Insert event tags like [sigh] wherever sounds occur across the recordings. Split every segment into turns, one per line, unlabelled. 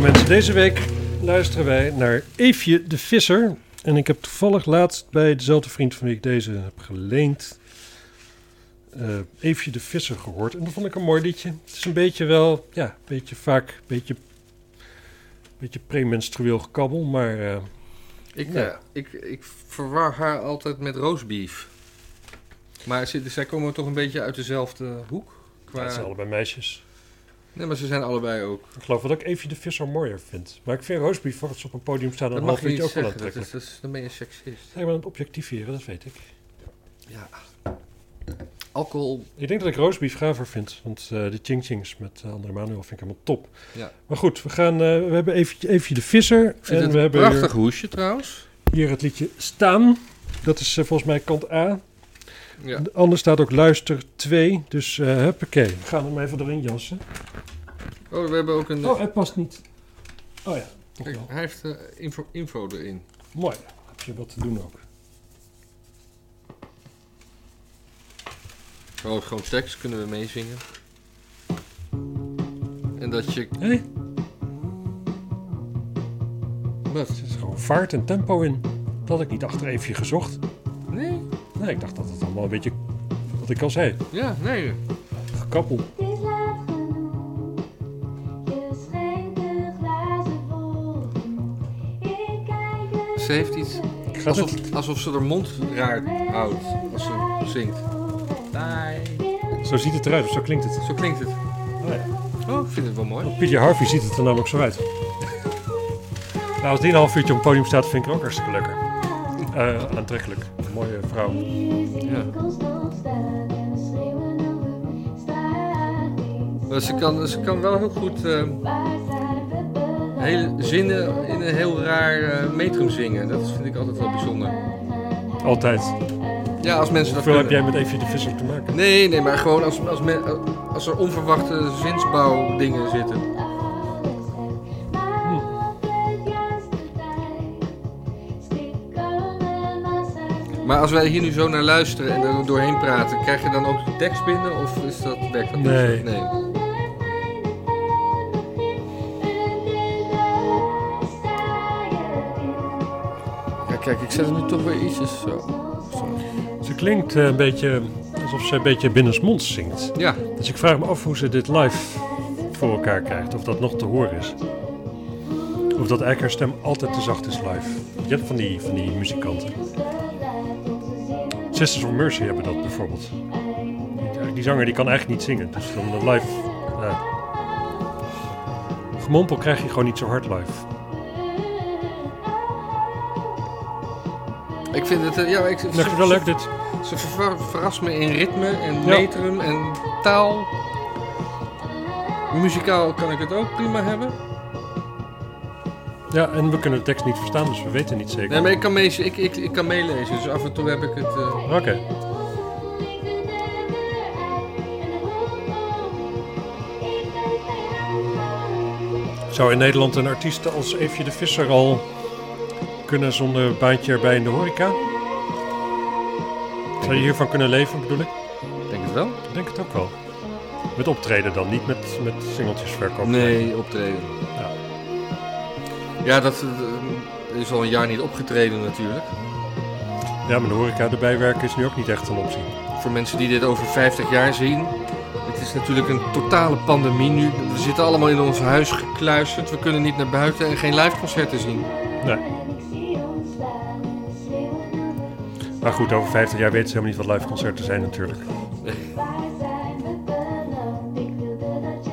mensen, deze week luisteren wij naar Eefje de Visser. En ik heb toevallig laatst bij dezelfde vriend van wie ik deze heb geleend... eh, Eefje de Visser gehoord. En dat vond ik een mooi liedje. Het is een beetje wel, ja, een beetje vaak, een beetje, beetje premenstrueel gekabbel. Maar eh,
Ik,
Ja.
eh, ik, ik verwar haar altijd met roastbeef. Maar ze, zij komen toch een beetje uit dezelfde hoek? Qua...
het zijn allebei meisjes.
Nee, maar ze zijn allebei ook.
Ik geloof dat ik Eefje de Visser mooier vind. Maar ik vind Roosbeef, voor ze op een podium staan,
Dat
een
mag
half
je niet
uurtje ook wel
zeggen, dat
aantrekkelijk.
is, dat is, dan ben je seksist.
Nee, maar aan het objectiveren, dat weet ik.
Alcohol,
Ik denk dat ik roastbeef gaver vind, want eh de Ching Chings met eh, André Manuel vind ik helemaal top.
ja.
Maar goed, we, gaan, eh, we hebben even, even de visser
Ik vind
en
het
we
een
hebben
prachtig
hier,
hoesje trouwens.
hier het liedje Staan. Dat is eh, volgens mij kant A.
Ja.
Anders staat ook Luister 2, dus eh huppakee. We gaan hem even erin jassen.
Oh, we hebben ook een...
Oh, het past niet. Oh ja, toch
kijk,
wel.
hij heeft eh, info, info erin.
Mooi, heb je wat te doen ook.
Oh, gewoon seks, kunnen we meezingen. En dat je...
Hé,
Wat?
er is gewoon vaart en tempo in. Dat had ik niet achter even gezocht.
Nee?
Nee, ik dacht dat het allemaal een beetje, wat ik al zei,
Ja, nee.
gekappel.
Het is laat genoeg, je schenkt de glazen vol. Ik kijk de
Ze heeft iets...
Ik ga dit-
Alsof, alsof ze haar mond raar houdt als ze zingt.
Zo ziet het eruit, of zo klinkt het.
Zo klinkt het.
Oh ja.
Oh, ik vind het wel mooi.
Pieter Harvey ziet het er namelijk zo uit. Nou, als die een half uurtje op het podium staat, vind ik het ook hartstikke lekker. Eh, aantrekkelijk. Een mooie vrouw.
muziek constant staan en schreeuwen over staat
Maar
iets.
ze kan, ze kan wel heel goed eh,
Waar zijn we beland?
hele zinnen in een heel raar eh, metrum zingen. Dat vind ik altijd wel bijzonder.
Altijd.
Ja, als mensen dat
Hoeveel heb
kunnen.
jij met Evie de Visser te maken?
Nee, nee, maar gewoon als, als, men, als er onverwachte zinsbouwdingen zitten.
Alles weg, maar
Hm.
op de juiste tijd. Stikken en massa's.
Maar als wij hier nu zo naar luisteren en er doorheen praten, krijg je dan ook de tekst binnen? Of is dat werkt dat niet?
Nee.
nee. Ja, kijk, ik zet er nu toch weer ietsjes zo.
Ze klinkt eh, een beetje alsof ze een beetje binnensmonds zingt.
Ja,
Dus ik vraag me af hoe ze dit live voor elkaar krijgt. Of dat nog te horen is. Of dat eigenlijk haar stem altijd te zacht is live. Je hebt van die, van die muzikanten. Sisters of Mercy hebben dat bijvoorbeeld. Die- Die zanger die kan eigenlijk niet zingen. Dus dan de live... Ja. Gemompel krijg je gewoon niet zo hard live.
ik vind het... eh, Ja, ik,
Ik vind het wel leuk dit.
Ze vervar- verrast me in ritme en metrum en taal. Muzikaal kan ik het ook prima hebben.
Ja, en we kunnen de tekst niet verstaan, dus we weten niet zeker.
Nee, maar ik kan, mee, ik, ik, ik kan meelezen, dus af en toe heb ik het... eh,
Oké. Zou in Nederland een artiest als Eefje de Visser al kunnen zonder baantje erbij in de horeca? Zou je hiervan kunnen leven, bedoel ik?
Ik denk het wel.
Ik denk het ook wel. Met optreden dan, niet met, met singeltjes verkopen.
Nee, optreden.
Ja.
Ja, dat eh, is al een jaar niet opgetreden natuurlijk.
Ja, maar de horeca erbij werken is nu ook niet echt een optie.
Voor mensen die dit over 50 jaar zien. Het is natuurlijk een totale pandemie nu. We zitten allemaal in ons huis gekluisterd. We kunnen niet naar buiten en geen live concerten zien.
Maar Nou goed, over 50 jaar weten ze helemaal niet wat live concerten zijn natuurlijk.
Ik wilde dat je het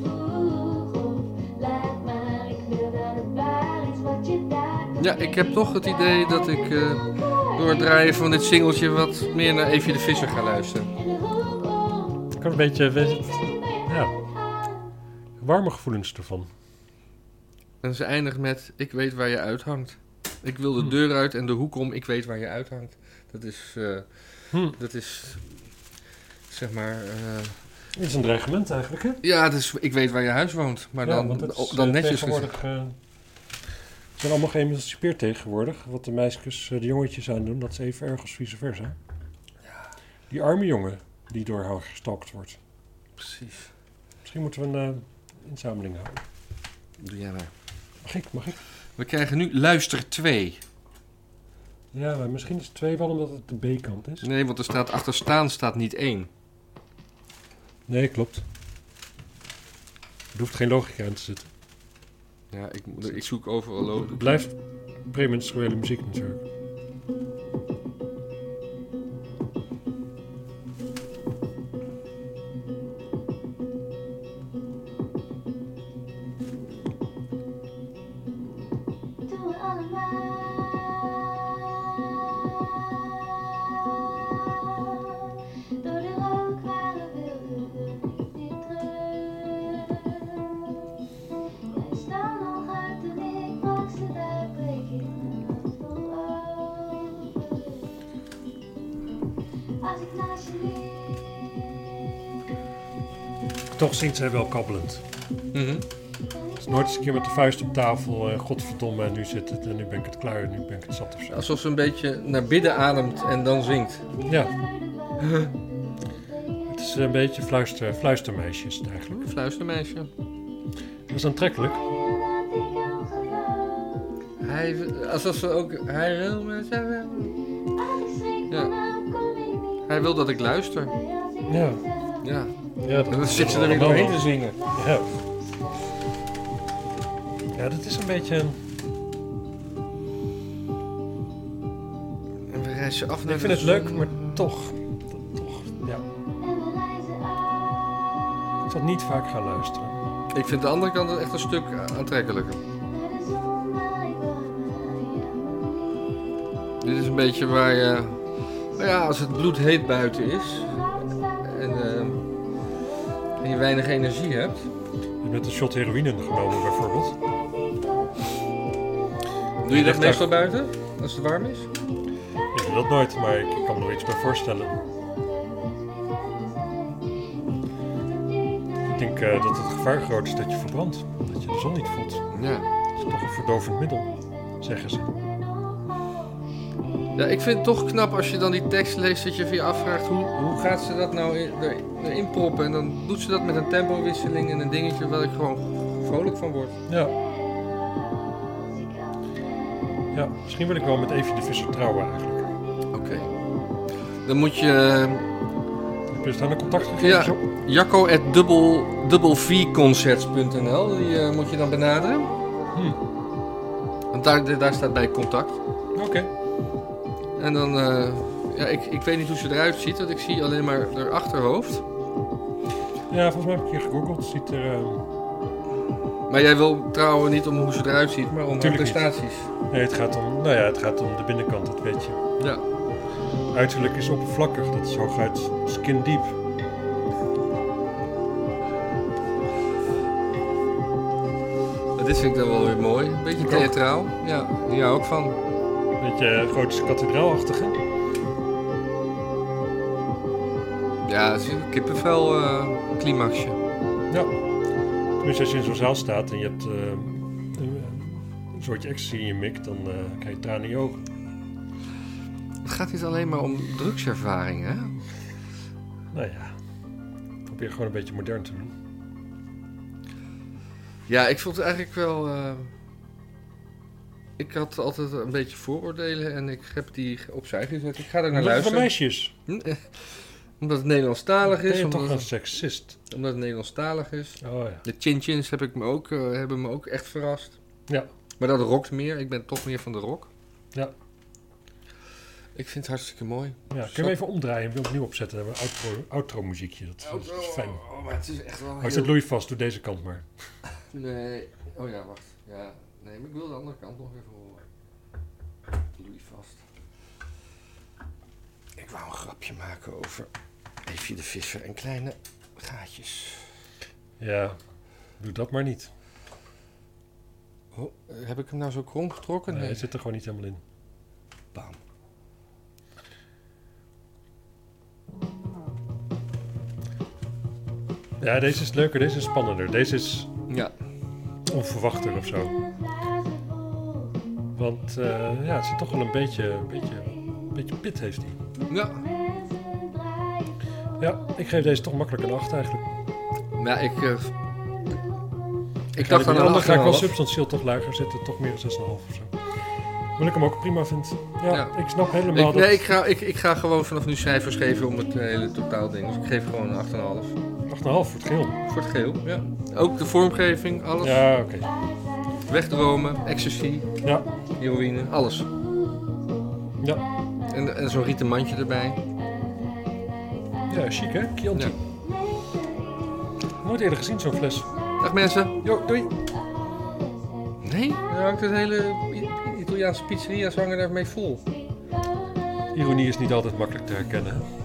vroeg of laat maar. Ik wil dat het waar is wat je daar
Ja, ik heb toch het idee dat ik eh, door het draaien van dit singeltje wat meer naar Evie de Visser ga luisteren.
Ik kan een beetje... weet je, Ja. Warme gevoelens ervan.
En ze eindigt met, ik weet waar je uithangt. Ik wil
Hmm.
de deur uit en de hoek om, ik weet waar je uithangt. Dat is, eh,
Hm.
dat is, zeg maar, eh,
Dit is een dreigement eigenlijk, hè?
ja, het is, ik weet waar je huis woont. Maar
Ja,
dan,
want dat is,
dan
eh,
netjes gezegd.
Tegenwoordig, eh, ze zijn allemaal geëmancipeerd tegenwoordig. Wat de meisjes eh, de jongetjes aandoen, dat is even erg als vice versa. Die arme jongen die door haar gestalkt wordt.
Precies.
Misschien moeten we een eh, inzameling houden.
doe jij maar.
Mag ik, mag ik?
We krijgen nu luister 2.
Ja, maar misschien is 2 wel omdat het de B-kant is.
Nee, want er staat achter staan staat niet 1.
Nee, klopt. Er hoeft geen logica aan te zitten.
Ja, ik, ik zoek overal
Het
logica.
blijft premenstruele muziek natuurlijk.
Doen we allemaal. Door de rook waren wilden we niet meer terug. Wij staan nog uit de week, baksen daar breek ik een nacht vol open. Als ik naast je lig,
Toch zingt zij wel kabbelend.
Mhm.
kan ik
Het is nooit eens een keer met de vuist op tafel. eh godverdomme, en nu zit het. En nu ben ik het klaar. En nu ben ik het zat of zo.
Alsof ze een beetje naar bidden ademt en dan zingt.
Ja. Het is een beetje fluister, fluistermeisjes eigenlijk.
Fluistermeisje.
Dat is aantrekkelijk.
dat ik aan geloof.
Hij, alsof ze ook... Hij wil me zeggen. Ja. Hij wil dat ik luister.
Ja.
Ja.
Ja,
En dan
is
zit ze
wel
er weer
allemaal.
doorheen te zingen.
Ja. ja, dat is een beetje... een-
En we reizen af naar
Ik
de
vind het
zon.
leuk, maar toch. Dat- Toch, ja. Ik zal niet vaak gaan luisteren.
Ik vind de andere kant echt een stuk aantrekkelijker. Dit is een beetje waar je... Nou ja, als het bloed heet buiten is... En, eh, en je weinig energie hebt...
Je bent een shot heroïne genomen bijvoorbeeld.
Doe je dat
Ligt
meestal buiten? Als het warm is?
Ik doe dat nooit, maar ik ik kan me er iets bij voorstellen. Ik denk eh, dat het gevaar groot is dat je verbrandt. Dat je de zon niet voelt.
Ja.
Dat is toch een verdovend middel, zeggen ze.
Ja, ik vind het toch knap als je dan die tekst leest... dat je je afvraagt hoe, hoe gaat ze dat nou in, er- erin proppen? En dan doet ze dat met een tempowisseling en een dingetje... waar ik gewoon vrolijk van word.
Ja. Ja, misschien wil ik wel met Evie de Visser trouwen eigenlijk.
Oké. Dan moet je... eh,
Heb je dus staan een
Ja.
contactgegevens op?
Jacco at double, doublevconcerts.nl, die eh, moet je dan benaderen.
Hm.
Want daar, daar staat bij contact.
Oké.
En dan, eh, ja, ik, ik weet niet hoe ze eruit ziet, want ik zie alleen maar haar achterhoofd.
Ja, volgens mij heb ik hier gegoogeld. Ziet er... eh,
Maar jij wil trouwen niet om hoe ze eruit ziet, maar om haar
Tuurlijk niet.
prestaties.
Nee, het gaat om... Nou ja, het gaat om de binnenkant, dat weet je.
Ja.
Uiterlijk is oppervlakkig. Dat is hooguit skin deep.
Nou, Dit vind ik dan wel weer mooi. Een beetje
Ik ook.
theatraal. Ja, die hou ik van.
Beetje eh, gotische kathedraalachtige.
Ja, het is een kippenvel eh, climaxje.
Ja. Tenminste, als je in zo'n zaal staat en je hebt eh, een, een soortje ecstasy in je mik, dan eh, krijg je tranen in je ogen.
Het gaat niet alleen maar om drugservaringen, hè?
Nou ja, probeer gewoon een beetje modern te doen.
Ja, ik vond het eigenlijk wel. eh, ik had altijd een beetje vooroordelen en ik heb die opzij gezet. Ik ga er naar
Omdat het van
luisteren. Hm,
meisjes.
[laughs] Omdat het Nederlandstalig
Ben
is.
je
Omdat,
toch een seksist?
omdat het Nederlandstalig is.
Oh ja.
De chin-chins heb ik me ook, eh, hebben me ook echt verrast.
Ja.
Maar dat rokt meer. Ik ben toch meer van de rock.
Ja.
Ik vind het hartstikke mooi.
ja. Kun je hem even omdraaien en weer opnieuw opzetten? Dan hebben we een outro, outro muziekje. Dat, dat is fijn.
Oh, maar het is echt wel
Houd je loei vast, doe deze kant maar.
Nee. Oh ja, wacht. Ja. Nee, maar ik wil de andere kant nog even horen. Louis vast. Ik wou een grapje maken over Eefje de Visser en kleine gaatjes.
Ja, doe dat maar niet.
Oh, eh, heb ik hem nou zo krom getrokken?
Nee,
Nee.
het zit er gewoon niet helemaal in.
Bam.
Ja, deze is leuker, deze is spannender. Deze is
Ja.
onverwachter of zo. Want eh, ja, het zit toch wel een beetje, een beetje, een beetje pit heeft hij.
Ja. Nou,
Ja, ik geef deze toch makkelijk een 8 eigenlijk.
Ja, ik... eh, Ik dacht aan
dan
een
dan ga ik wel
8,5.
substantieel toch lager zitten, toch meer 6,5 of zo. Hoewel ik hem ook prima vind. Ja,
Ja.
ik snap helemaal
Ik,
dat...
nee, ik ga, ik, ik ga gewoon vanaf nu cijfers geven om het eh, hele totaalding. Dus ik geef gewoon een 8,5.
8,5 voor het geel.
Voor het geel, ja. Ook de vormgeving, alles.
Ja, oké.
Wegdromen, ecstasy,
Ja,
heroïne, alles.
ja.
En, en zo'n rieten mandje erbij.
Ja, chic hè? Chianti.
Ja.
Nooit eerder gezien zo'n fles.
Dag mensen.
Jo, doei.
Nee, er hangt het hele I- Italiaanse pizzeria's hangen daarmee vol.
Ironie is niet altijd makkelijk te herkennen.